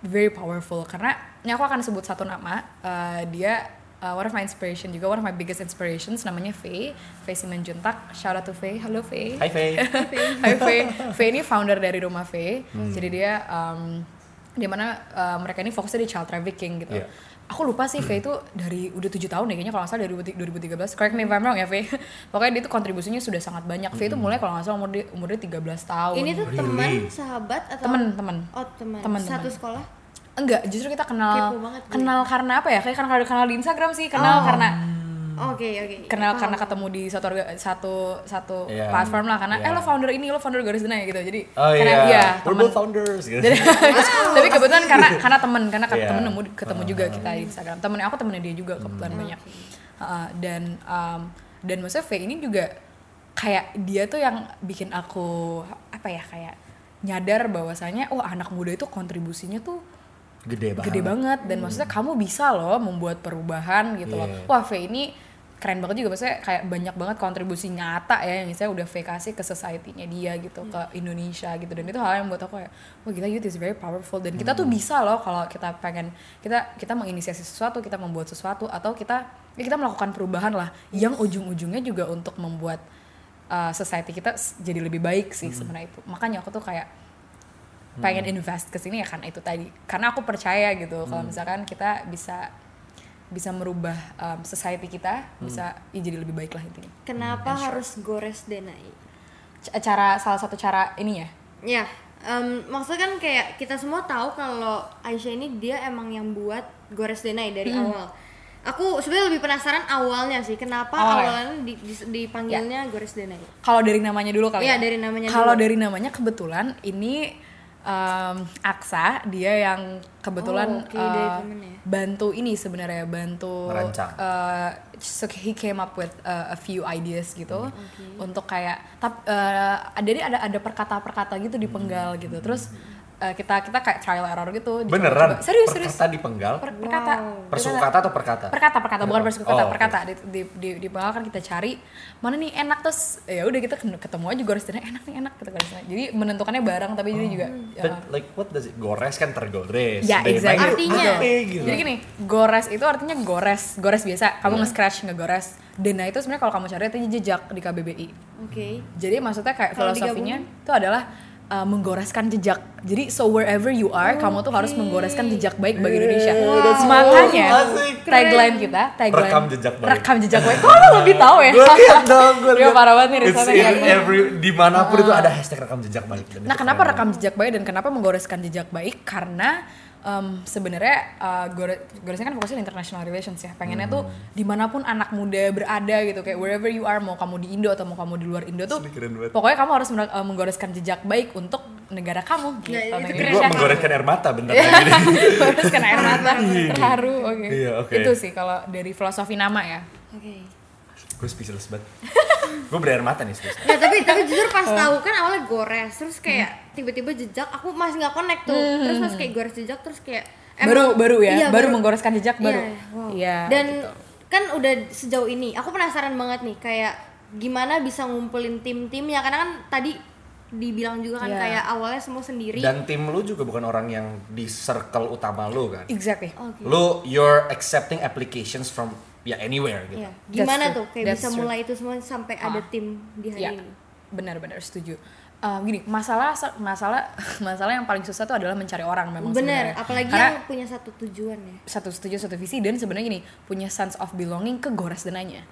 very powerful karena ini aku akan sebut satu nama uh, dia uh, one of my inspiration juga one of my biggest inspirations namanya Faye Faye Simanjuntak shout out to Faye halo Faye Hai Faye. Hai Faye. Faye ini founder dari Rumah Faye. Hmm. Jadi dia um, di mana uh, mereka ini fokusnya di child trafficking gitu. Iya. Aku lupa sih Faye itu dari udah tujuh tahun ya kayaknya kalau nggak salah dari 2013. Correct me if I'm wrong ya Faye. Pokoknya dia itu kontribusinya sudah sangat banyak. Faye Hmm. itu mulai kalau nggak salah umur dia, umurnya 13 tahun. Ini tuh teman, Really? sahabat atau temen-temen. Oh, teman. Teman, Satu teman. sekolah. Enggak, justru kita kenal Kepo banget gue. kenal karena apa ya? Kayak kan kalau kenal di Instagram sih, Ah. kenal karena Oke, oke. kenal Paham. karena ketemu di satu orga- satu satu Iya. platform lah karena eh Iya. lo founder ini, lo founder Garis Denai gitu. Jadi Oh karena iya. iya, We're temen. both founders gitu. Jadi- tapi kebetulan karena karena temen karena Iya. temen nemu ketemu juga kita di Instagram temen aku temennya dia juga kebetulan banyak Uh, dan um, dan maksudnya V ini juga kayak dia tuh yang bikin aku apa ya kayak nyadar bahwasanya oh anak muda itu kontribusinya tuh gede banget. gede banget dan maksudnya kamu bisa loh membuat perubahan gitu loh. Iya. Wah, V ini keren banget juga maksudnya kayak banyak banget kontribusi nyata ya yang saya udah V kasih ke society-nya dia gitu Hmm. ke Indonesia gitu dan itu hal yang buat aku kayak wah gila youth is very powerful dan kita Hmm. tuh bisa loh kalau kita pengen kita kita menginisiasi sesuatu kita membuat sesuatu atau kita ya kita melakukan perubahan lah yang ujung-ujungnya juga untuk membuat uh, society kita s- jadi lebih baik sih Hmm. sebenarnya itu makanya aku tuh kayak pengen invest ke sini ya karena itu tadi karena aku percaya gitu kalau misalkan kita bisa bisa merubah um, society kita bisa ya, jadi lebih baik lah intinya Kenapa harus gores denai? C- cara salah satu cara ininya Ya, em, maksudnya kan kayak kita semua tahu kalau Aisyah ini dia emang yang buat gores denai dari Hmm. awal. Aku sebenarnya lebih penasaran awalnya sih, kenapa Awalnya? awalnya di- di- Ya. dipanggilnya gores denai? kalau dari namanya dulu kali Iya, ya dari namanya kalau dulu. dari namanya kebetulan ini um, Aksa dia yang Oh, kebetulan oke, dari uh, temen ya. bantu ini sebenarnya bantu Merancang. uh, so he came up with uh, a few ideas Hmm. gitu untuk kayak tap uh, ada ada ada perkata-perkata gitu di Hmm. penggal gitu terus uh, kita kita kayak trial error gitu dicoba-coba. Beneran? serius serius Perkata dipenggal? per, perkata Persuku perkata. kata atau perkata? perkata perkata bukan Perkata. persuku kata Oh, oke. perkata di di di, di bawah kan kita cari mana nih enak terus ya udah kita ketemu aja goresannya enak nih enak gitu goresannya jadi menentukannya barang tapi jadi juga ya. But like what does it? Gores kan tergores. Ya, Denai exactly. Artinya. apa gitu. Iya. Jadi gini, gores itu artinya gores, gores biasa. Kamu nge-scratch, nge-gores. Dena itu sebenarnya kalau kamu cari itu jejak di KBBI. Oke. Jadi maksudnya kayak Kalau filosofinya itu adalah uh, menggoreskan jejak. Jadi so wherever you are, kamu tuh harus menggoreskan jejak baik bagi Indonesia. Makanya Asik. tagline kita, tagline Rekam jejak baik. Rekam jejak baik. Kok lu lebih tahu ya? Gue liat dong, gue Dia liat. parah banget nih It's risetnya. in kayak gini. every, dimanapun itu ada hashtag rekam jejak balik. Dan Nah, itu kenapa keren rekam jejak baik dan kenapa menggoreskan jejak baik? Karena em, sebenarnya eh, gore- goresnya kan fokusnya di international relations ya. Pengennya tuh Hmm. dimanapun anak muda berada gitu, kayak wherever you are, mau kamu di Indo atau mau kamu di luar Indo tuh, Ini keren banget. pokoknya kamu harus men- eh, menggoreskan jejak baik untuk negara kamu Nah, gitu. Atau itu banget. Indonesia. Gue menggoreskan air mata bentar lagi. Menggoreskan air mata, terharu, oke. Iya, oke. Itu sih kalau dari filosofi nama ya. Oke. Gue speechless banget. Gue berair mata nih speechless. Nah, tapi tapi jujur pas Eh. tahu kan awalnya gores, terus kayak tiba-tiba jejak aku masih nggak connect tuh. Terus pas kayak gores jejak terus kayak Hmm. Baru- baru ya? iya, Baru menggoreskan jejak baru? Iya, wow. Iya, Dan gitu. kan udah sejauh ini, aku penasaran banget nih kayak gimana bisa ngumpulin tim-tim ya karena kan tadi dibilang juga kan Iya. kayak awalnya semua sendiri. Dan tim lu juga bukan orang yang di circle utama lu kan. Exactly. Oke. Lu you're accepting applications from ya anywhere gitu. Iya. Gimana true. tuh kayak That's bisa true. mulai itu semua sampai ada tim di hari Ya, ini? benar-benar setuju. Um, gini, masalah masalah masalah yang paling susah itu adalah mencari orang memang Bener, sebenarnya. apalagi Karena yang punya satu tujuan ya. satu setuju satu visi dan sebenarnya gini punya sense of belonging ke Gores Denanya.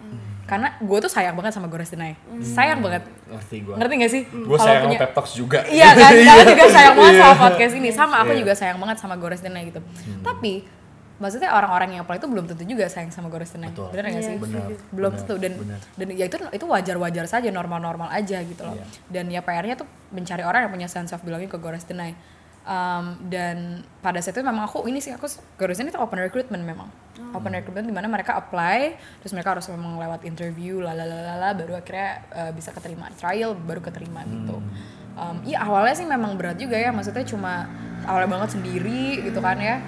Karena gue tuh sayang banget sama Gores Denai. Sayang banget. Ngerti gue. Ngerti gak sih? Gue Kalau sayang sama punya- pep talks juga. Iya kan, kamu juga sayang banget sama Iya. podcast ini. Sama aku Iya. Hmm. juga sayang banget sama Gores Denai gitu. Tapi maksudnya orang-orang yang apply itu belum tentu juga sayang sama Gores Denai. Betul. Bener gak Iya, sih? benar, belum benar, tentu dan benar. dan ya itu itu wajar-wajar saja, normal-normal aja gitu loh. Iya. Dan ya PR-nya tuh mencari orang yang punya sense of belonging ke Gores Denai. Um, dan pada saat itu memang aku ini sih aku Gores Denai itu open recruitment memang. Open recruitment di mana mereka apply, terus mereka harus memang lewat interview, lalalala, baru akhirnya uh, bisa keterima trial, baru keterima gitu. Um, iya awalnya sih memang berat juga ya, maksudnya cuma awalnya banget sendiri gitu kan ya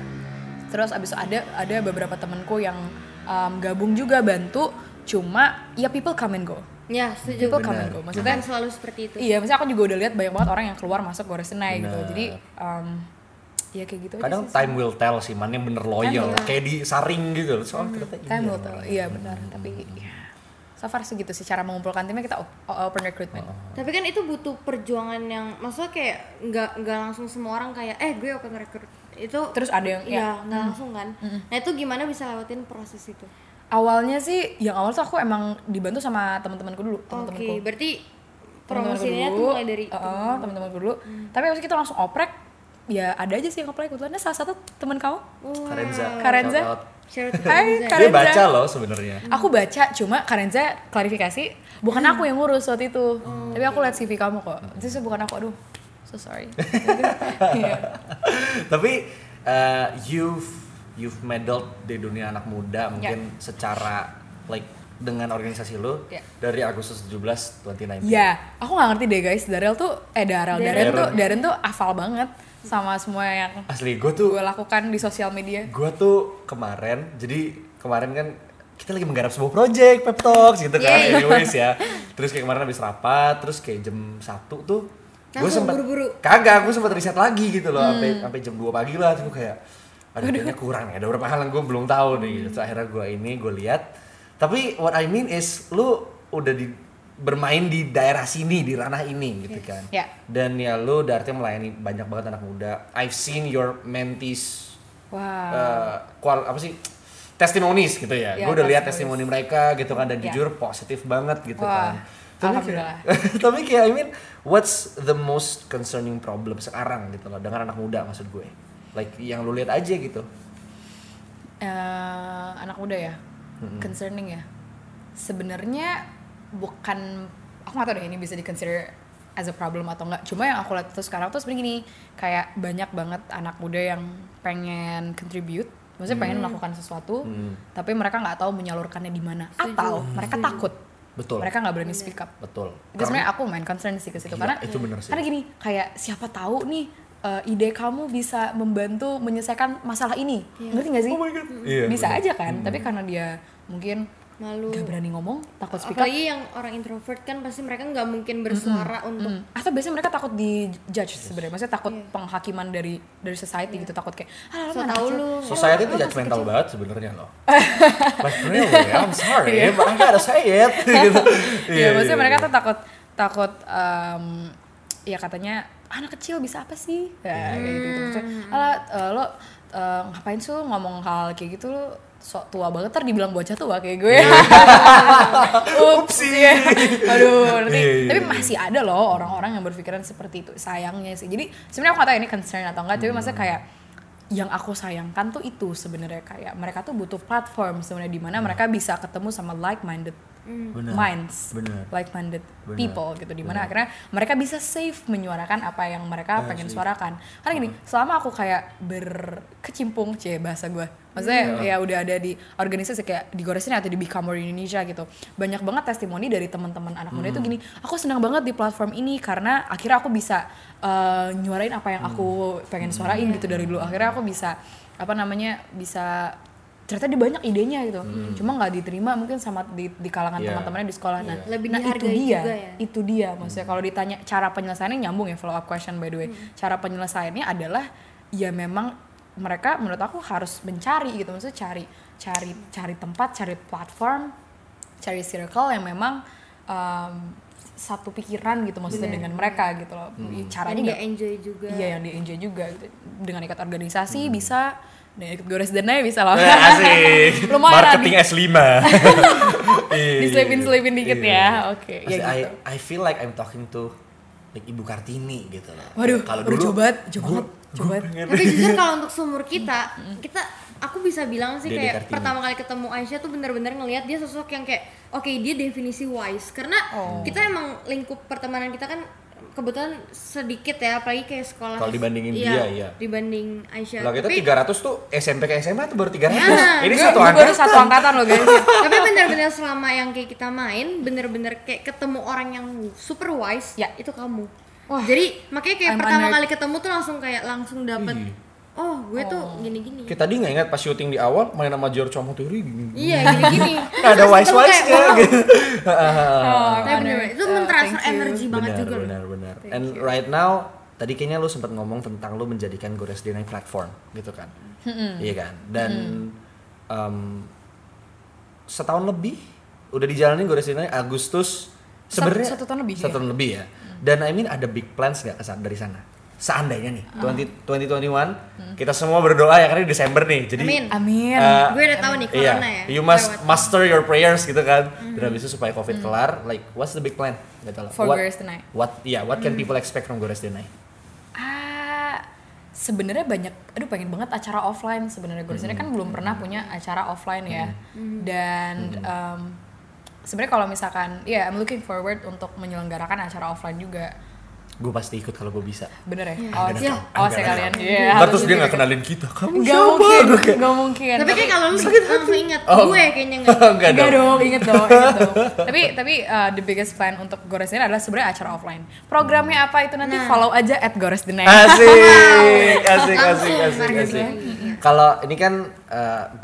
terus abis itu ada ada beberapa temanku yang um, gabung juga bantu cuma ya people come and go Ya, setuju. people come and go Iya, maksudnya Kan selalu seperti itu. iya maksudnya aku juga udah lihat banyak banget orang yang keluar masuk gores Senai gitu Benar. jadi um, ya kayak gitu Kadang aja sih. time will tell sih mana yang bener loyal. Kayak disaring gitu. Hmm. Soalnya ternyata time iya. will tell iya benar tapi ya. so far segitu sih cara mengumpulkan timnya kita o- open recruitment Tapi kan itu butuh perjuangan yang maksudnya kayak nggak nggak langsung semua orang kayak eh gue open record itu terus ada yang Hmm. ya, iya nggak langsung kan. Nah itu gimana bisa lewatin proses itu? awalnya sih yang awal tuh aku emang dibantu sama teman-temanku dulu Oke, teman-temanku berarti Temen-temen gue promosinya tuh dulu, mulai dari Hmm. uh-uh, temen-temen gue dulu tapi abis itu kita langsung oprek ya ada aja sih yang apply kebetulan Nah, salah satu temen kamu Wah, Karenza. Karenza. shout out. shout out to Hai Karenza. Dia Karenza baca loh sebenarnya. aku baca cuma Karenza klarifikasi bukan aku yang ngurus waktu itu tapi aku lihat CV kamu kok itu sih bukan aku aduh so sorry Iya. Tapi Ya. eh, you've you've meddled di dunia anak muda mungkin secara like dengan organisasi lu Iya. dari Agustus 17 2019. Ya, aku nggak ngerti deh guys. Darel tuh, eh Darel, Darren, Darren. tuh, Darren tuh afal banget sama semua yang Asli gue tuh gue lakukan di sosial media. gue tuh kemarin jadi kemarin kan kita lagi menggarap sebuah project pep talks gitu kan Yeay. anyways ya terus kayak kemarin habis rapat terus kayak jam satu tuh gue Langsung sempat buru-buru. Hmm. kagak gue sempat riset lagi gitu loh sampai sampai jam 2 pagi lah tuh kayak aduh kayaknya kurang nih ada berapa hal yang gue belum tahu nih Hmm. gitu Terus akhirnya gue ini gue lihat tapi what I mean is lu udah di bermain di daerah sini di ranah ini gitu kan Ya. dan ya lu udah artinya melayani banyak banget anak muda I've seen your mentees Wah. eh, kual apa sih testimonies gitu ya. Ya, gue udah lihat testimonies. testimoni mereka gitu kan dan Ya. jujur positif banget gitu Wah, kan. Tapi alhamdulillah. kayak, tapi kayak I mean what's the most concerning problem sekarang gitu loh dengan anak muda maksud gue. Like yang lu lihat aja gitu. eh anak muda ya concerning ya sebenarnya bukan aku nggak tahu deh ini bisa di consider as a problem atau enggak cuma yang aku lihat tuh sekarang tuh sebenarnya gini kayak banyak banget anak muda yang pengen contribute maksudnya pengen melakukan sesuatu tapi mereka nggak tahu menyalurkannya di mana atau mereka takut Betul. mereka nggak berani speak up Betul. itu sebenarnya aku main concern sih ke situ Iya, karena itu bener sih. karena gini kayak siapa tahu nih eh, ide kamu bisa membantu menyelesaikan masalah ini ngerti nggak sih Oh my God. Iya, bisa bener. Hmm. aja kan tapi karena dia mungkin Malu. nggak berani ngomong takut speak up Apalagi yang orang introvert kan pasti mereka nggak mungkin bersuara untuk Iya. Hmm. atau biasanya mereka takut di judge sebenarnya maksudnya takut penghakiman dari dari society gitu takut kayak ah so mana tau kecil." lu. Society itu judgmental banget sebenarnya loh. But really, I'm sorry, but I gotta say it. gitu. Iya, maksudnya iya, mereka iya. tuh takut takut em, ya katanya anak kecil bisa apa sih? Ya, kayak gitu. Hmm. Maksudnya, "Alah, eh, lo eh, ngapain sih lo ngomong hal kayak gitu lo sok tua banget ntar dibilang bocah tua kayak gue. Iya. Ups. iya. Aduh, nanti. Iya, iya, Tapi iya. masih ada loh orang-orang yang berpikiran seperti itu. Sayangnya sih. Jadi sebenarnya aku gak tahu ini concern atau enggak, tapi maksudnya Hmm. kayak yang aku sayangkan tuh itu sebenarnya kayak mereka tuh butuh platform sebenarnya di mana mereka Hmm. bisa ketemu sama like minded Benar. minds, Benar. like minded Benar. Ah, people gitu dimana akhirnya mereka bisa safe menyuarakan apa yang mereka pengen suarakan karena gini selama aku kayak berkecimpung cie bahasa gue Hmm. maksudnya ya udah ada di organisasi kayak di Goresin atau di Become More Indonesia gitu banyak banget testimoni dari teman-teman anak muda itu Hmm. gini aku senang banget di platform ini karena akhirnya aku bisa eh, nyuarain apa yang Hmm. aku pengen suarain gitu dari dulu akhirnya aku bisa apa namanya bisa ternyata dia banyak idenya gitu cuma nggak diterima mungkin sama di, di kalangan Hmm. Iya. teman-temannya di sekolah nah Iya. Lebih nah itu dihargai dia juga ya. itu dia Hmm. maksudnya kalau ditanya cara penyelesaiannya nyambung ya follow up question by the way cara penyelesaiannya adalah ya memang mereka menurut aku harus mencari gitu maksudnya cari cari cari tempat cari platform cari circle yang memang um, satu pikiran gitu maksudnya dengan mereka gitu loh Hmm. Yang caranya dia nggak- enjoy juga. Iya yang di enjoy juga gitu. Dengan ikut organisasi bisa, dengan ikut gores dananya bisa lah. Hmm. Eh, Oh. asik. Lumayan Marketing S5. Iya, Diselipin-selipin dikit iya. ya. Oke, ya Maksudnya, gitu. I, I feel like I'm talking to like Ibu Kartini gitu loh. Waduh, kalau aduh, dulu jauh banget, jauh gua- banget, jauh gua banget. pengen- Tapi jujur kalau untuk seumur kita, kita aku bisa bilang sih Dede kayak Kartini. pertama kali ketemu Aisyah tuh bener-bener ngelihat dia sosok yang kayak oke dia definisi wise karena Oh. kita emang lingkup pertemanan kita kan kebetulan sedikit ya apalagi kayak sekolah Kalau dibandingin Iya, dia, iya. dibanding Aisyah Lah kita tapi 300 tuh SMP ke SMA tuh baru 300. Nah, Iya, Ini Gue- satu gue baru angka. satu angkatan loh guys. tapi bener-bener selama yang kayak kita main bener-bener kayak ketemu orang yang super wise Ya. itu kamu Wah. jadi makanya kayak I'm pertama honored. kali ketemu tuh langsung kayak langsung dapet Ih. oh gue tuh gini-gini Kita tadi nggak ingat pas syuting di awal main sama Giorgio Motori gini. Iya gini-gini. Ada wise wise nya gitu. Oh, Tapi bener itu mentransfer energi banget eh, benar, juga. loh. benar, benar. And right now, tadi kayaknya lu sempat ngomong tentang lu menjadikan Gores Dinai platform, gitu kan? Iya kan? Dan em, setahun lebih udah dijalanin Gores Dinai Agustus sebenarnya satu tahun lebih, satu tahun lebih ya. Dan I mean ada big plans nggak kesa- dari sana? Seandainya nih 20, 2021 kita semua berdoa ya karena di Desember nih. Jadi Amin. Amin. eh, Gue udah tahu nih Iya, corona ya. you must lewat. Mm-hmm. master your prayers gitu kan. Dan habis itu supaya covid kelar, like what's the big plan? Gitu loh. For what, Gores Denai. What, yeah, what can Mm-hmm. people expect from Gores Denai? Ah, sebenarnya banyak aduh pengen banget acara offline sebenarnya gue sini Hmm. kan belum pernah punya acara offline ya dan Hmm. em, iya, sebenarnya kalau misalkan ya I'm looking forward untuk menyelenggarakan acara offline juga gue pasti ikut kalau gue bisa bener ya awas Iya. ya awas ya Ada kalian kamu. Iya, Ntar harus terus dia gitu. nggak kenalin kita kamu Nggak siapa mungkin Gua kayak, nggak mungkin tapi kayak kalau lu Gitu. langsung ingat Oh. gue kayaknya nggak enggak Enggak dong dong, inget dong, inget dong. tapi tapi uh, the biggest plan untuk Gores ini adalah sebenarnya acara offline. Programnya apa itu Nah. nanti follow aja at Gores the Next. Eh, asik asik asik Langsung, asik Margit, asik ya. kalau ini kan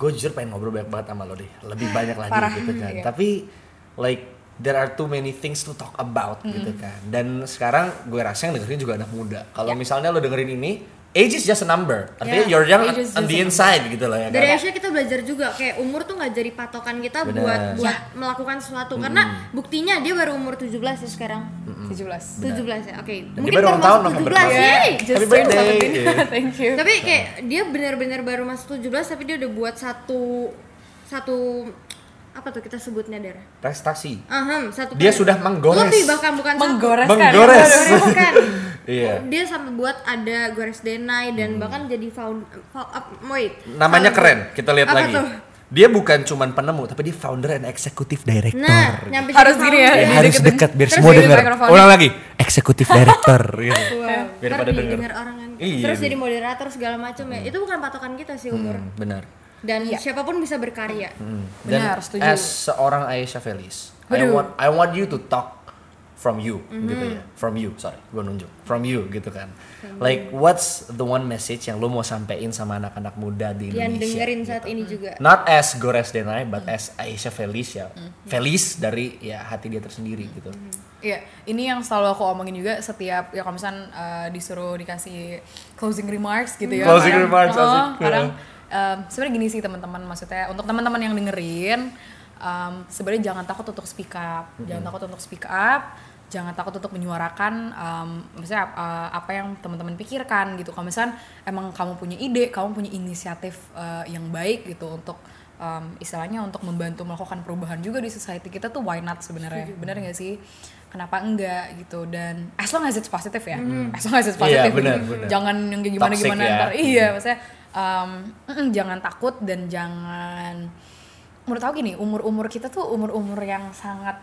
gue jujur pengen ngobrol banyak banget sama lo deh lebih banyak lagi Parah. gitu kan Iya. tapi like there are too many things to talk about gitu kan dan sekarang gue rasa yang dengerin juga anak muda kalau misalnya lo dengerin ini age is just a number artinya Yeah, you're young age is on just the a inside gitu loh ya dari kan Asia kita belajar juga kayak umur tuh nggak jadi patokan kita Bener. buat buat melakukan sesuatu karena buktinya dia baru umur 17 ya sekarang 17. 17 ya oke dia mungkin baru ulang tahun termasuk November 17 kemarin. yeay. Happy Just turned 17. birthday. Iya. Thank you. Iya, tapi kayak dia benar-benar baru masuk 17 tapi dia udah buat satu satu apa tuh kita sebutnya daerah prestasi Ahem, satu Dia per- sudah menggores. lebih bahkan bukan satu. Menggores kan. Menggores. Menggores, bukan. Iya. Hmm. dia sampai buat ada gores denai dan bahkan jadi found, fo- up- wait, founder. namanya keren kita lihat Apa lagi tuh? dia bukan cuman penemu tapi dia founder and executive director nah nyampe jadi Harus gini founder. ya. Eh, Dideketin. harus dekat biar Terus semua jadi denger. mikrofonnya. Ulang lagi, eksekutif director. gitu. Wow. Biar Ntar pada di- denger. denger orang kan. Iya, Terus bener. jadi moderator segala macam ya. Itu bukan patokan kita sih umur. Hmm, benar. Dan Iya. siapapun bisa berkarya. Dan Benar, setuju. as seorang Aisyah Felis, I Waduh. Mhm. want I want you to talk from you gitu ya. From you, sorry, gue nunjuk. From you gitu kan. Like what's the one message yang lo mau sampein sama anak-anak muda di Dan Indonesia? dengerin saat ini Hmm. juga. Not as Gores Denai, but Mhm. as Aisyah Felis ya. Felis dari ya hati dia tersendiri gitu. Iya, ini yang selalu aku omongin juga setiap ya kalau misalnya disuruh dikasih closing remarks gitu ya. Closing kadang- remarks, Oh, asik. Iya. kadang em, sebenarnya gini sih teman-teman maksudnya untuk teman-teman yang dengerin em, sebenarnya jangan takut untuk speak up, jangan takut untuk speak up, jangan takut untuk menyuarakan em, maksudnya eh, apa yang teman-teman pikirkan gitu. Kalau misalnya emang kamu punya ide, kamu punya inisiatif eh, yang baik gitu untuk em, istilahnya untuk membantu melakukan perubahan juga di society kita tuh why not sebenarnya bener nggak sih kenapa enggak gitu dan as long as it's positive ya as long as it's Iya, positive benar, benar. jangan yang kayak gimana Toxic gimana ya. ntar iya maksudnya em, mm, jangan takut dan jangan menurut aku gini umur umur kita tuh umur umur yang sangat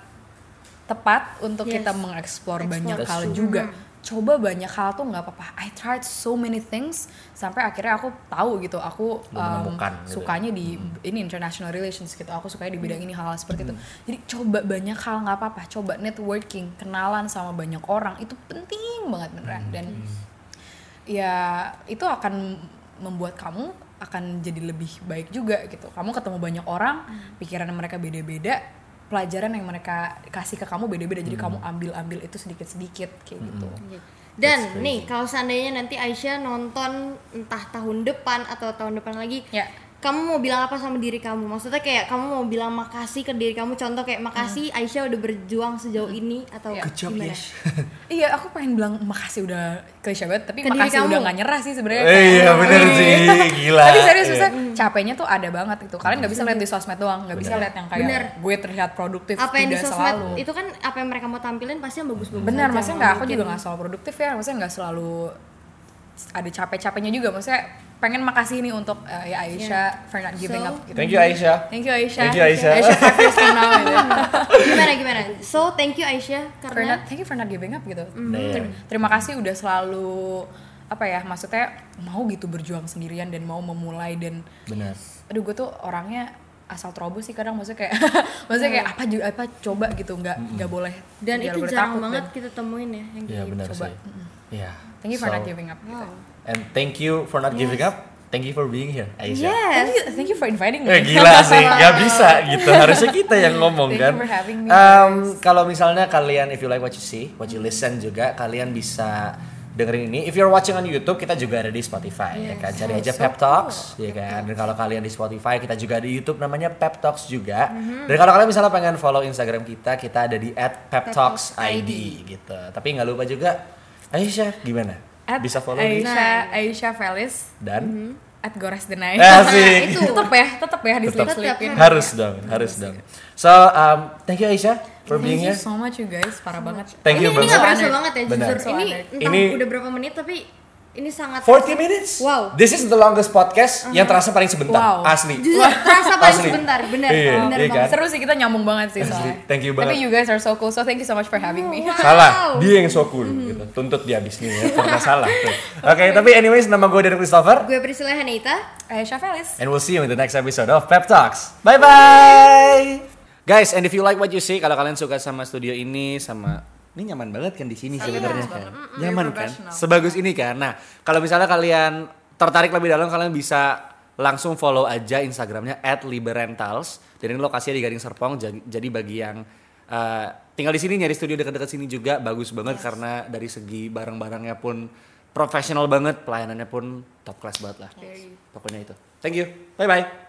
tepat untuk Yes. kita mengeksplor banyak That's hal true. juga coba banyak hal tuh nggak apa-apa I tried so many things sampai akhirnya aku tahu gitu aku Lu em, menemukan gitu ya. Hmm. sukanya sukanya di ini international relations gitu aku sukanya di bidang ini hal-hal seperti itu jadi coba banyak hal nggak apa-apa coba networking kenalan sama banyak orang itu penting banget beneran Hmm, dan ya itu akan membuat kamu akan jadi lebih baik juga gitu kamu ketemu banyak orang Hmm. pikiran mereka beda-beda pelajaran yang mereka kasih ke kamu beda-beda jadi Hmm. kamu ambil-ambil itu sedikit-sedikit kayak gitu Dan nih kalau seandainya nanti Aisyah nonton entah tahun depan atau tahun depan lagi, Ya. kamu mau bilang apa sama diri kamu? Maksudnya kayak kamu mau bilang makasih ke diri kamu. Contoh kayak makasih Hmm. Aisyah udah berjuang sejauh ini atau Ya. Good job, gimana? Yes. Iya, aku pengen bilang makasih udah klise banget, tapi Ke diri makasih kamu. udah gak nyerah sih sebenarnya. Eh, Kayak, iya, bener "Wih." sih, gila. Tapi serius, Iya. misalnya capeknya tuh ada banget gitu. Kalian nggak bisa lihat di sosmed doang, nggak bisa Bener. lihat yang kayak Bener. gue terlihat produktif Apa yang di tidak sosmed selalu. itu kan apa yang mereka mau tampilin pasti yang bagus-bagus. aja. Benar, maksudnya nggak aku juga nggak selalu produktif ya, maksudnya nggak selalu ada capek-capeknya juga. Maksudnya pengen makasih nih untuk eh, ya Aisyah for not giving So- up gitu. Thank you Aisyah. Thank you Aisyah. Thank you, Aisyah. Aisyah five years from now gitu. gimana gimana? So thank you Aisyah for karena not, thank you for not giving up gitu. Nah, Ter- terima kasih udah selalu apa ya maksudnya mau gitu berjuang sendirian dan mau memulai dan Benar. aduh gue tuh orangnya asal terobos sih kadang maksudnya kayak maksudnya kayak apa juga apa coba gitu nggak nggak boleh dan nggak itu boleh jarang ya, takut banget dan- kita temuin ya yang Iya kayak benar gitu. sih. Iya. Mhm. thank you for So, not giving up gitu. Wow. And thank you for not giving up. Thank you for being here, Aisyah. Yes. thank you thank you for inviting me Eh gila sih, nggak bisa gitu. Harusnya kita yang ngomong Thank kan. you for having me, Em, kalau misalnya kalian if you like what you see, what you listen juga, kalian bisa dengerin ini. If you're watching on YouTube, kita juga ada di Spotify ya kan. Cari Oh, aja Pep Talks ya kan. Dan kalau kalian di Spotify, kita juga di YouTube namanya Pep Talks juga. Mm-hmm. Dan kalau kalian misalnya pengen follow Instagram kita, kita ada di @peptalksid gitu. Tapi nggak lupa juga Aisyah gimana? At Mm-hmm. bisa follow di- Aisyah Aisyah Felis dan at Gores Denai Eh, Asik. Nah, itu. tetep ya tetep ya Tetep. diselip-selipin harus dong, harus dong. So, um, thank you Aisyah for being thank you here. so much you guys parah banget Thank you ini nggak banget. berasa banget ya Benar. jujur. Ini Soalnya. entah Ini- udah berapa menit tapi ini sangat 40 minutes. Wow. This is the longest podcast yang terasa paling sebentar. Wow. Asli. Justru terasa paling Asli. sebentar, benar, Iya, benar iya banget. kan? Seru sih kita nyambung banget sih soalnya. Asli, thank you Tapi banget. you guys are so cool, so thank you so much for having me. Salah, dia yang so cool Mm-hmm. gitu. Tuntut dia abis ini ya, karena salah. Tuh. Oke, tapi anyways nama gue Darren Christopher Gue Priscilla Hanita. Aisyah Felis. and we'll see you in the next episode of Pep Talks. Bye bye. Guys, and if you like what you see, kalau kalian suka sama studio ini sama ini nyaman banget kan di sini Iya, sebenarnya kan. Nyaman kan? Sebagus ini kan. Nah, kalau misalnya kalian tertarik lebih dalam kalian bisa langsung follow aja Instagramnya @liberentals. Jadi ini lokasinya di Gading Serpong. Jadi jadi bagi yang Eh, tinggal di sini nyari studio dekat-dekat sini juga bagus banget karena dari segi barang-barangnya pun profesional banget, pelayanannya pun top class banget lah. Pokoknya itu. Thank you. Bye bye.